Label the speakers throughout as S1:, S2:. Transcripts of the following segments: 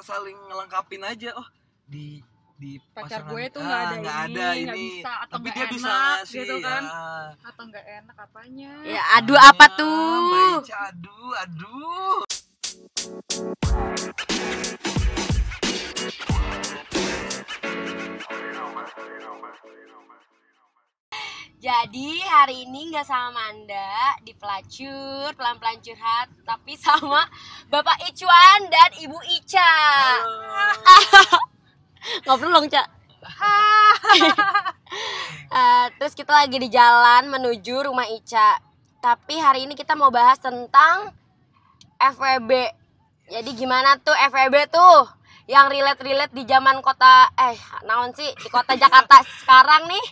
S1: saling ngelengkapin aja oh di di
S2: Pacar
S1: pasangan-
S2: gue tuh
S1: ah,
S2: nggak ada
S1: nggak
S2: ini, nggak bisa, atau
S1: tapi
S2: nggak
S1: dia bisa
S2: enak,
S1: ngasih
S2: gitu kan.
S1: ah.
S2: atau nggak enak apanya
S3: Ya aduh apa
S1: Ah,
S3: tuh?
S1: Mbak Ica, aduh aduh
S3: Jadi hari ini nggak sama Manda di pelacur, pelan-pelan curhat, tapi sama Bapak Icuan dan Ibu Ica. Ah. Ngobrol dong, Ca. Eh, terus kita lagi di jalan menuju rumah Ica. Tapi hari ini kita mau bahas tentang FWB. Jadi gimana tuh FWB tuh? Yang relate-relate di zaman kota eh naon sih di kota Jakarta sekarang nih?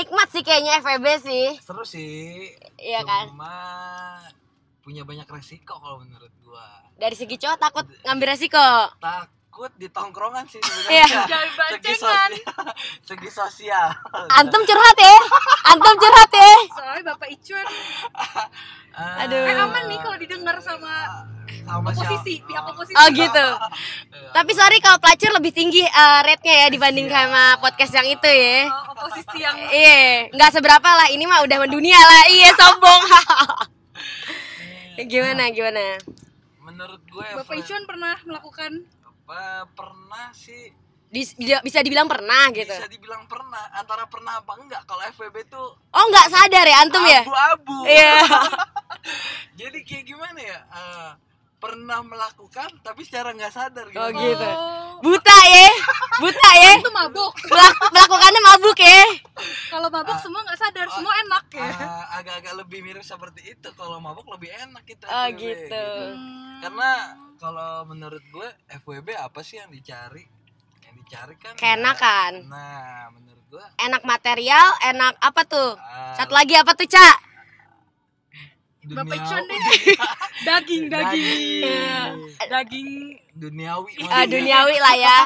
S3: Nikmat sih kayaknya FWB sih.
S1: Eh, seru sih
S3: Iya kan?
S1: cuma punya banyak resiko kalau menurut gua
S3: Dari segi cowok takut ngambil resiko.
S1: takut di tongkrongan sih
S3: Iya.
S1: sebenarnya
S2: Jangan
S1: segi
S2: bancengan.
S1: sosial segi sosial
S3: Antum curhat ya. Antum curhat ya.
S2: soalnya bapak Icuan
S1: Ah,
S3: Aduh.
S2: eh aman nih kalau didengar sama
S1: sama siapa?
S2: oposisi pihak oposisi
S3: Oh gitu.
S1: Iya.
S3: Tapi sorry kalau pelacur lebih tinggi eh, rate-nya ya dibanding sama podcast yang itu ya.
S2: Oh, oposisi yang
S3: Iya, nggak seberapa lah. Ini mah udah mendunia lah. Iya, sombong. gimana gimana?
S1: menurut gue
S2: bapak
S1: Fred,
S2: Icuan pernah melakukan
S1: apa, pernah sih
S3: Dis- bila- bisa dibilang pernah gitu.
S1: bisa dibilang pernah antara pernah apa enggak kalau FWB tuh
S3: Oh, nggak sadar ya antum ya?
S1: abu-abu
S3: Iya.
S1: jadi kayak gimana ya eh, pernah melakukan tapi secara nggak sadar gitu,
S3: Oh, gitu.
S2: oh
S3: Buta ya. Buta ya.
S2: itu mabuk
S3: Melak- melakukannya mabuk ya.
S2: kalau mabuk semua nggak sadar semua enak ya
S1: Eh, agak-agak lebih mirip seperti itu kalau mabuk lebih enak kita
S3: Oh,
S1: FWB,
S3: gitu.
S2: Hmm,
S1: karena kalau menurut gue FWB apa sih yang dicari yang dicari kan
S3: Keenakan.
S1: nah menurut gue
S3: Enak material, enak apa tuh?
S1: ah,
S3: Satu lagi apa tuh, Ca?
S1: eh, dunia-
S2: Bapak Ican deh. daging daging
S3: Iya.
S2: daging
S1: duniawi
S3: Eh,
S1: maksudnya. Iya,
S3: duniawi lah ya.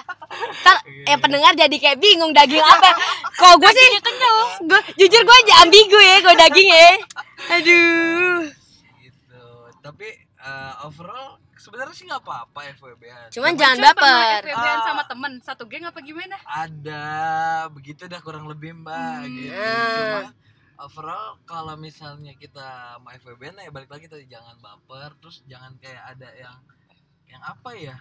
S3: Ntar, eh pendengar jadi kayak bingung daging apa. Kok gue sih? Gua, jujur gue aja ambigu ya, gue daging ya. Aduh.
S1: gitu tapi eh, overall sebenarnya sih nggak apa-apa ya, FWB -an.
S3: Cuman ya?
S2: Bapak
S3: jangan
S2: Icuan pernah
S3: baper.
S2: FWB-an
S1: Ah.
S2: sama temen satu geng apa gimana
S1: ada begitu dah kurang lebih mbak
S3: Hmm,
S1: gitu
S3: ya.
S1: cuma overall kalau misalnya kita mau FWB nah ya balik lagi tadi jangan baper terus jangan kayak ada yang yang apa ya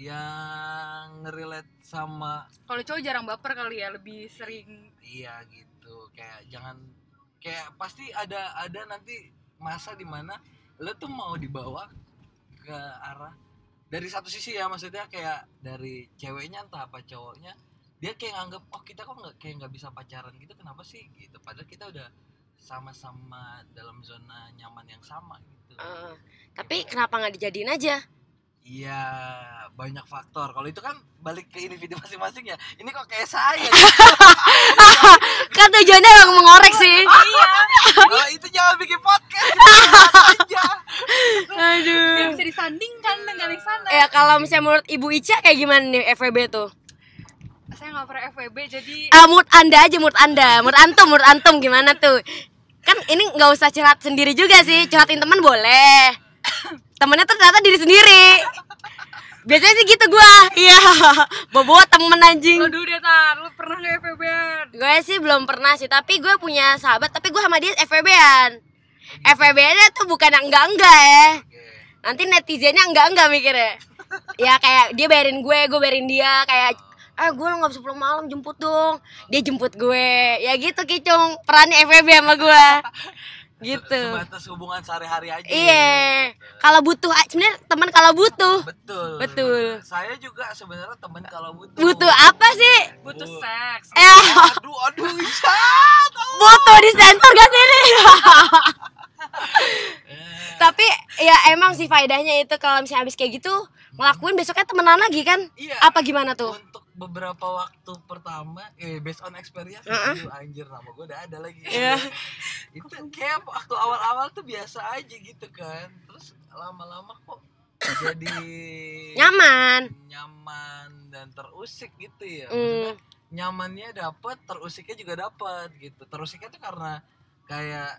S1: yang relate sama
S2: kalau cowok jarang baper kali ya lebih sering
S1: iya gitu kayak jangan kayak pasti ada ada nanti masa dimana lo tuh mau dibawa ke arah dari satu sisi ya maksudnya kayak dari ceweknya entah apa cowoknya dia kayak nganggep oh kita kok nggak kayak nggak bisa pacaran gitu kenapa sih gitu padahal kita udah sama-sama dalam zona nyaman yang sama gitu
S3: Eh, tapi kenapa nggak dijadiin aja?
S1: Iya, banyak faktor. Kalau itu kan balik ke individu masing-masing ya. Ini kok kayak saya. ya?
S3: Kan tujuannya emang mengorek sih.
S1: Kalau itu jangan bikin podcast. curhat aja.
S2: Biar
S3: Aduh.
S2: bisa disandingkan dengan yang sana
S3: Ya kalau misalnya menurut Ibu Ica kayak gimana nih FWB tuh?
S2: saya nggak pernah FWB jadi
S3: Ah, menurut Anda aja, menurut Anda, menurut antum, menurut antum gimana tuh? Kan ini nggak usah curhat sendiri juga sih, curhatin teman boleh. Temennya tuh ternyata diri sendiri. Biasanya sih gitu gua. Iya. Bawa temen anjing.
S2: aduh deh tar lu pernah nggak FWB-an
S3: Gue sih belum pernah sih, tapi gue punya sahabat, tapi gue sama dia FVB-an. FVB-nya tuh bukan yang enggak-enggak ya.
S1: Oke.
S3: Nanti netizennya enggak-enggak mikirnya. ya kayak dia bayarin gue, gue bayarin dia, kayak eh gue lo nggak bisa pulang malam jemput dong dia jemput gue ya gitu kicung perannya FVB sama gue gitu
S1: Sebatas hubungan sehari-hari aja.
S3: iya kalau butuh a- sebenarnya teman kalau
S1: ya.
S3: butuh
S1: Betul.
S3: Betul.
S1: Saya juga sebenarnya temen kalau butuh.
S3: butuh apa sih
S2: butuh seks
S3: eh
S1: Aduh, aduh, Isya.
S3: butuh di sensor gak sih ini tapi ya emang sih faedahnya itu kalau misalnya habis kayak gitu ngelakuin besoknya temenan lagi kan
S1: Iya.
S3: apa gimana tuh
S1: Untuk beberapa waktu pertama, eh based on experience, aduh, anjir nama gue udah ada lagi.
S3: Iya.
S1: Itu kayak waktu awal-awal tuh biasa aja gitu kan. Terus lama-lama kok jadi
S3: nyaman
S1: nyaman dan terusik gitu ya.
S3: Hmm.
S1: Maksudnya nyamannya dapet, terusiknya juga dapet gitu. Terusiknya tuh karena kayak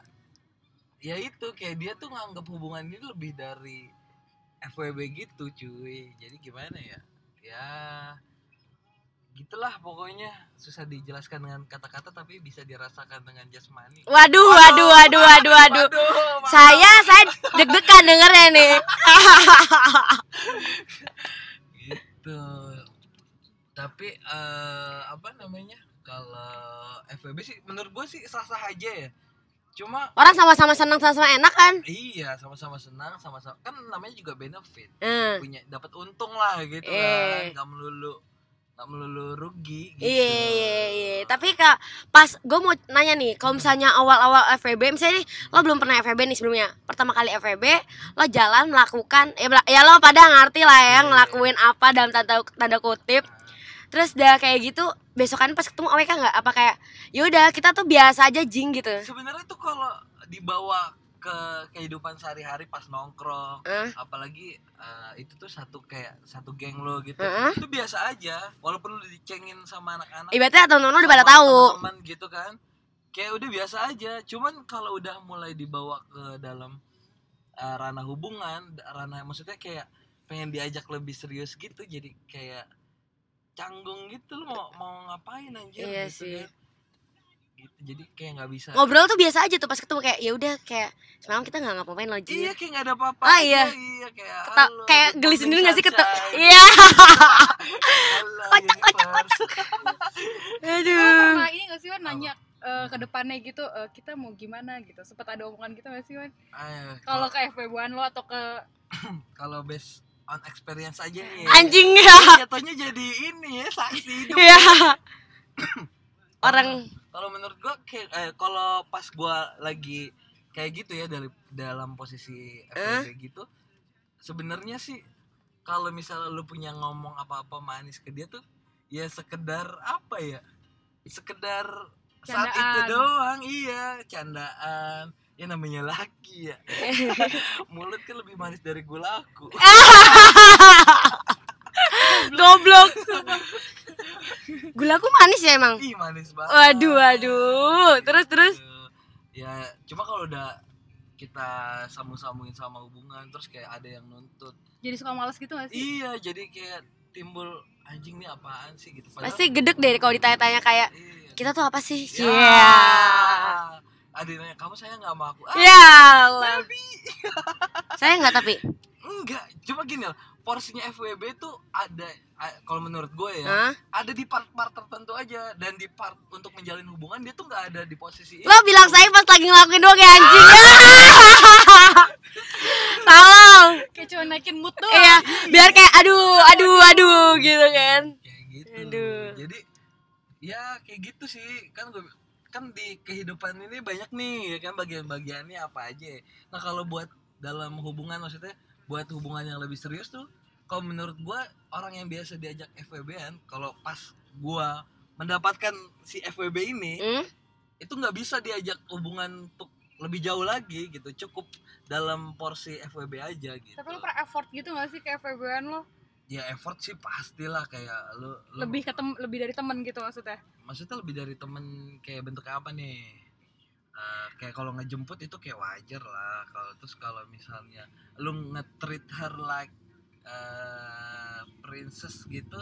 S1: ya itu kayak dia tuh nganggap hubungan ini lebih dari FWB gitu cuy jadi gimana ya ya gitulah pokoknya susah dijelaskan dengan kata-kata tapi bisa dirasakan dengan jasmani
S3: Waduh, waduh, waduh, waduh, waduh.
S1: Waduh,
S3: Saya saya deg-degan dengernya nih.
S1: gitu tapi eh apa namanya kalau FWB sih menurut gue sih sah-sah aja ya cuma
S3: Orang sama-sama senang sama-sama enak kan?
S1: iya sama-sama senang sama-sama kan namanya juga benefit
S3: Eh,
S1: punya dapat untung lah gitu kan
S3: Eh.
S1: nggak melulu nggak melulu rugi gitu
S3: Iya, iya, iya. Tapi kak, pas gue mau nanya nih, kalau misalnya awal-awal FVB, misalnya nih, lo belum pernah FVB nih sebelumnya. Pertama kali FVB, lo jalan melakukan, ya, mela- ya lo pada ngerti lah ya,
S1: Iya.
S3: ngelakuin apa dalam tanda, tanda kutip. Terus udah kayak gitu, besokan pas ketemu AWK nggak? Apa kayak, yaudah kita tuh biasa aja jing gitu.
S1: Nah, sebenarnya tuh kalau dibawa ke kehidupan sehari-hari pas nongkrong
S3: Eh.
S1: apalagi eh, itu tuh satu kayak satu geng lo gitu
S3: Heeh.
S1: itu biasa aja walaupun lu dicengin sama anak-anak
S3: Ibaratnya temen-temen lo udah
S1: sama
S3: pada tahu.
S1: teman-teman gitu kan kayak udah biasa aja cuman kalau udah mulai dibawa ke dalam eh, ranah hubungan da- ranah maksudnya kayak pengen diajak lebih serius gitu jadi kayak canggung gitu lu mau mau ngapain anjir
S3: Iya
S1: gitu
S3: sih.
S1: kan. gitu jadi kayak nggak bisa
S3: Ngobrol tuh biasa aja tuh pas ketemu kayak, yaudah kayak semalam kita nggak ngapa-ngapain lo jing.
S1: iya kayak nggak ada apa-apa
S3: Ah,
S1: aja,
S3: iya.
S1: iya kayak
S3: Keta-
S1: halo,
S3: kayak
S1: good
S3: geli
S1: morning,
S3: sendiri gak sih ketok?
S1: sunshine.
S3: Iya.
S1: Halo, gitu kan. universe.
S2: Lo
S3: Aduh.
S2: pernah ini gak sih Wan nanya eh, ke depannya gitu eh, kita mau gimana gitu sempat ada omongan gitu gak sih Wan
S1: Ayo,
S2: kalau ke FB lo atau ke
S1: kalau based on experience aja nih
S3: Anjing
S1: Ini
S3: ya.
S1: jatuhnya jadi ini ya saksi hidup
S3: Iya. Orang
S1: kalau menurut gua kayak eh, kalau pas gua lagi kayak gitu ya dari dalam posisi FWB gitu sebenarnya sih kalau misalnya lu punya ngomong apa-apa manis ke dia tuh ya sekedar apa ya sekedar saat itu
S2: Candaan.
S1: doang iya candaan ya namanya laki ya mulut kan lebih manis dari gulaku
S3: goblok. Gula aku manis ya emang.
S1: ih manis banget Iya,
S3: Waduh, waduh. Terus terus
S1: ya cuma kalau udah kita sambung-sambungin sama hubungan terus kayak ada yang nuntut
S2: jadi suka males gitu gak sih
S1: iya jadi kayak timbul anjing nih apaan sih gitu Padahal-
S3: pasti gedek deh kalau ditanya-tanya kayak
S1: iya.
S3: kita tuh apa sih?
S1: Ya.
S3: Iya.
S1: ada yang nanya kamu sayang nggak sama aku ah,
S3: Ya Allah. Saya nggak tapi.
S1: enggak cuma gini loh porsinya FWB tuh ada a- kalau menurut gue ya
S3: Hah?
S1: ada di part-part tertentu aja dan di part untuk menjalin hubungan dia tuh nggak ada di posisi
S3: Lo bilang saya pas lagi ngelakuin doang ya anjing. Tolong.
S2: kayak cuma naikin mood tuh
S3: Iya, biar kayak aduh, aduh, aduh gitu kan.
S1: kayak gitu
S3: Aduh.
S1: jadi ya kayak gitu sih kan gue kan di kehidupan ini banyak nih ya kan bagian-bagiannya apa aja nah kalau buat dalam hubungan maksudnya buat hubungan yang lebih serius tuh kalau menurut gua orang yang biasa diajak FWB-an kalau pas gua mendapatkan si FWB ini
S3: Hmm?
S1: itu nggak bisa diajak hubungan untuk lebih jauh lagi gitu cukup dalam porsi FWB aja gitu
S2: tapi lo pernah effort gitu gak sih ke FB lo
S1: ya effort sih pastilah kayak lu, lu
S2: lebih ke tem- lebih dari temen gitu maksudnya
S1: maksudnya lebih dari temen kayak bentuk apa nih Eh, kayak kalau ngejemput itu kayak wajar lah kalau terus kalau misalnya lu nge-treat her like eh, princess gitu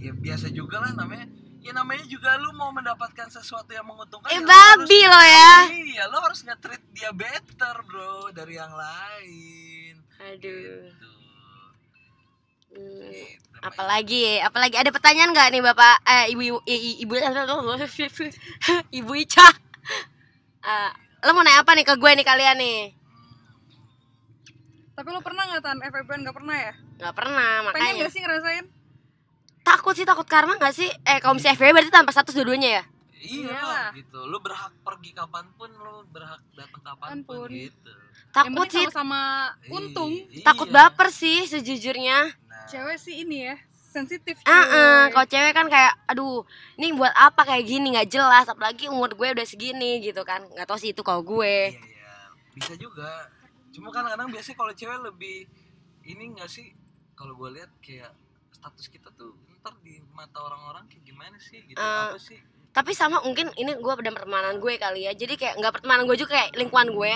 S1: ya biasa juga lah namanya ya namanya juga lu mau mendapatkan sesuatu yang menguntungkan ya
S3: Eh
S1: lu
S3: babi
S1: harus-
S3: lo ya.
S1: iya lu harus nge-treat dia better bro dari yang lain
S3: Aduh.
S1: gitu,
S3: Hmm.
S1: gitu.
S3: Apalagi, apalagi ada pertanyaan nggak nih bapak, eh ibu ibu i- i- ibu ibu Ica. Eh, lo mau nanya apa nih ke gue nih kalian nih?
S2: tapi lo pernah nggak tan FB nggak pernah ya
S3: Gak pernah
S2: pengen
S3: makanya.
S2: gak sih ngerasain
S3: Takut sih takut karma gak sih? Eh kalau misalnya FBB berarti tanpa status dua-duanya ya?
S1: Iya lah gitu. Lu berhak pergi kapanpun, lu berhak datang kapanpun
S2: Kapanpun.
S1: gitu.
S2: Yang
S3: Takut
S2: penting
S3: sih,
S2: sama untung
S1: Iya.
S3: takut baper sih sejujurnya.
S1: Nah,
S2: cewek sih ini ya sensitif
S1: Iya,
S3: Ah, ah,
S2: cuy.
S3: kalau cewek kan kayak aduh, ini buat apa kayak gini nggak jelas apalagi umur gue udah segini gitu kan. nggak tahu sih itu kalau gue.
S1: iya, iya. Bisa juga. Cuma kan kadang biasanya kalau cewek lebih ini enggak sih kalau gue lihat kayak status kita tuh ntar di mata orang-orang kayak gimana sih gitu
S2: Eh,
S1: apa sih
S3: Tapi sama mungkin ini gue pada pertemanan gue kali ya. Jadi kayak nggak pertemanan gue juga kayak lingkungan gue.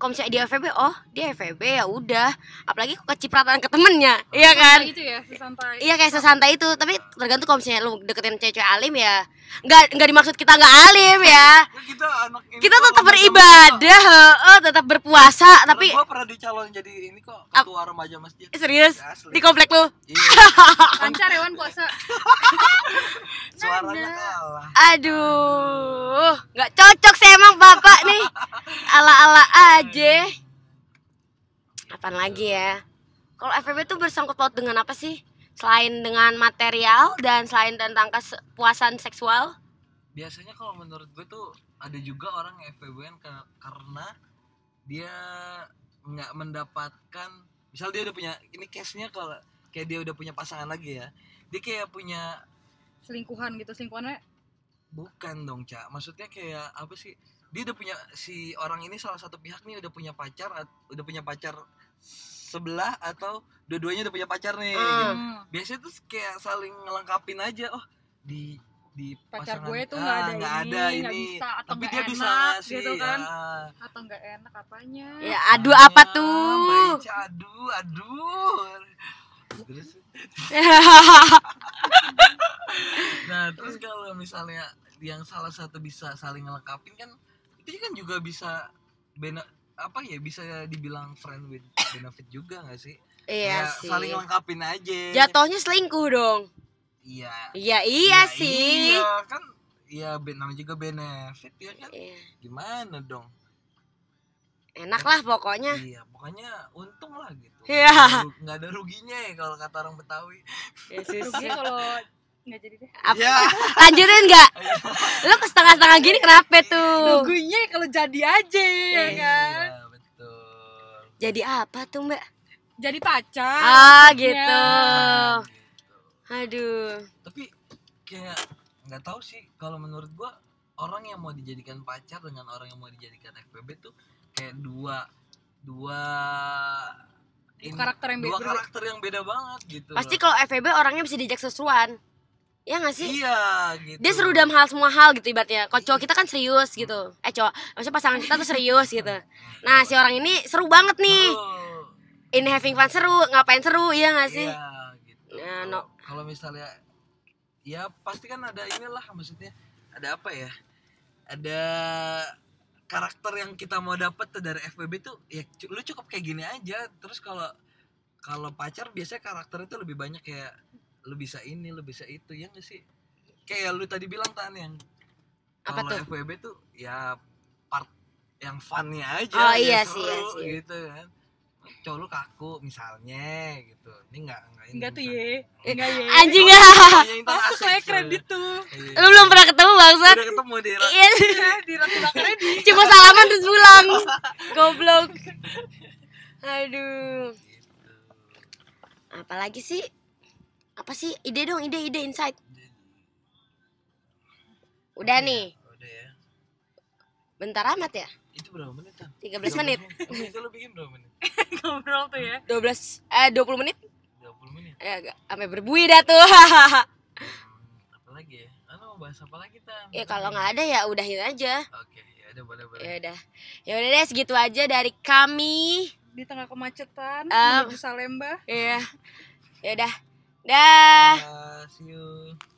S3: kalau misalnya dia FVB oh dia FVB ya udah apalagi kecipratan ke temennya
S1: Oh,
S3: iya kan
S2: Nah, itu ya sesantai
S3: iya kayak sesantai itu tapi tergantung kalau misalnya lu deketin cewek-cewek alim ya nggak nggak dimaksud kita nggak alim ya
S1: Ya, kita anak ini
S3: kita
S1: kok
S3: tetap
S1: lama-lama
S3: beribadah heeh, tetap berpuasa
S1: kok.
S3: tapi
S1: Karena gua pernah dicalon jadi ini kok ketua remaja masjid
S3: serius
S1: Asli.
S3: di komplek lu
S1: iya
S2: lancar ya Wan puasa
S1: suaranya kalah
S3: aduh nggak cocok sih emang bapak nih ala-ala aja apaan lagi ya kalau FVB tuh bersangkut paut dengan apa sih selain dengan material dan selain tentang kepuasan seksual
S1: biasanya kalau menurut gue tuh ada juga orang yang FPBN ke- karena dia nggak mendapatkan misal dia udah punya ini case nya kalau kayak dia udah punya pasangan lagi ya dia kayak punya
S2: selingkuhan gitu selingkuhannya
S1: bukan dong cak maksudnya kayak apa sih dia udah punya si orang ini salah satu pihak nih udah punya pacar at- udah punya pacar sebelah atau dua-duanya udah punya pacar nih gitu.
S2: Hmm.
S1: biasanya tuh kayak saling ngelengkapin aja oh di di
S2: Pacar
S1: pasangan-
S2: gue tuh
S1: ah,
S2: nggak ada
S1: nggak
S2: ini, nggak bisa, atau
S1: tapi
S2: nggak
S1: dia bisa
S2: enak,
S1: ngasih,
S2: gitu kan.
S1: ah.
S2: atau nggak enak apanya
S3: ya aduh apa
S1: Ah,
S3: tuh
S1: Mbak Ica, aduh aduh terus nah terus kalau misalnya yang salah satu bisa saling ngelengkapin kan itu kan juga bisa bena apa ya bisa dibilang friend with benefit juga nggak sih Ya,
S3: iya sih
S1: saling lengkapin aja
S3: jatuhnya selingkuh dong
S1: iya
S3: Iya iya
S1: Ya,
S3: sih.
S1: iya kan iya ben- namanya juga benefit ya kan
S3: Iya.
S1: gimana dong
S3: Enak lah pokoknya.
S1: iya pokoknya untung lah gitu
S3: Iya.
S1: Ru- nggak ada ruginya ya kalau kata orang betawi
S2: rugi kalau nggak jadi deh
S3: Apa- gitu
S1: Iya.
S3: Lanjutin nggak? Lu ke setengah-setengah gini kenapa tuh?
S2: ruginya kalau jadi aja ya kan
S1: Iya, betul.
S3: Jadi apa tuh mbak?
S2: jadi pacar
S3: Ah
S1: Iya.
S2: maksudnya.
S3: gitu.
S1: Nah, gitu.
S3: Aduh.
S1: Tapi kayak nggak tahu sih kalau menurut gua orang yang mau dijadikan pacar dengan orang yang mau dijadikan FBB tuh kayak dua dua ini-
S2: karakter yang
S1: dua
S2: beda.
S1: karakter yang beda banget gitu.
S3: Pasti
S1: loh.
S3: kalau FVB orangnya bisa diajak sesuan. Ya nggak sih?
S1: Iya gitu.
S3: Dia seru dalam hal semua hal gitu ibaratnya. Kalau cowok kita kan serius gitu. Eh cowok, maksudnya pasangan kita tuh serius gitu. Nah si orang ini seru banget nih.
S1: Seru.
S3: In having fun seru, ngapain seru? Iya nggak sih?
S1: Iya gitu.
S3: Nah,
S1: Kalau- Kalau misalnya ya pasti kan ada inilah maksudnya ada apa ya? Ada karakter yang kita mau dapet tuh dari FBB tuh ya cu- lu cukup kayak gini aja. Terus kalau kalau pacar biasanya karakternya tuh lebih banyak kayak lu bisa ini, lu bisa itu ya nggak sih? Kayak lu tadi bilang tan yang
S3: Apa
S1: kalau
S3: tuh?
S1: FBB tuh ya part yang funnya aja
S3: Oh,
S1: ya
S3: iya
S1: seru
S3: sih, iya sih.
S1: gitu kan cowok lu kaku misalnya gitu ini nggak nggak ini
S2: Enggak tuh
S1: misalnya.
S2: ye Enggak ye
S3: Anjing ah.
S1: Iya, Intan
S2: Masuk
S1: Iya. asik
S2: kayak
S1: soalnya.
S2: kredit tuh
S1: Iya.
S3: Lu belum pernah ketemu bangsat.
S1: udah ketemu di
S3: Iya.
S2: Di rata kredit
S3: Cuma salaman terus pulang. Goblok. Aduh.
S1: Gitu.
S3: Apalagi sih? Apa sih? Ide dong, ide, ide, insight. Udah nih.
S1: udah ya
S3: Bentar amat ya?
S1: itu berapa menit kan
S3: 13 menit.
S1: itu lu bikin berapa menit
S2: Ngobrol tuh ya
S3: 12 eh 20 menit?
S1: 20 menit
S3: Eh agak sampai berbuih dah tuh.
S1: hmm, apa lagi ya anu mau bahas apa lagi tan
S3: ya kalau nggak ada ya udahin aja.
S1: oke ya udah boleh boleh
S3: Ya udah. Ya udah deh segitu aja dari kami.
S2: Di tengah kemacetan
S3: Ah.
S2: Menuju Salemba
S3: Ya. Ya udah. Dah.
S1: Ah, see you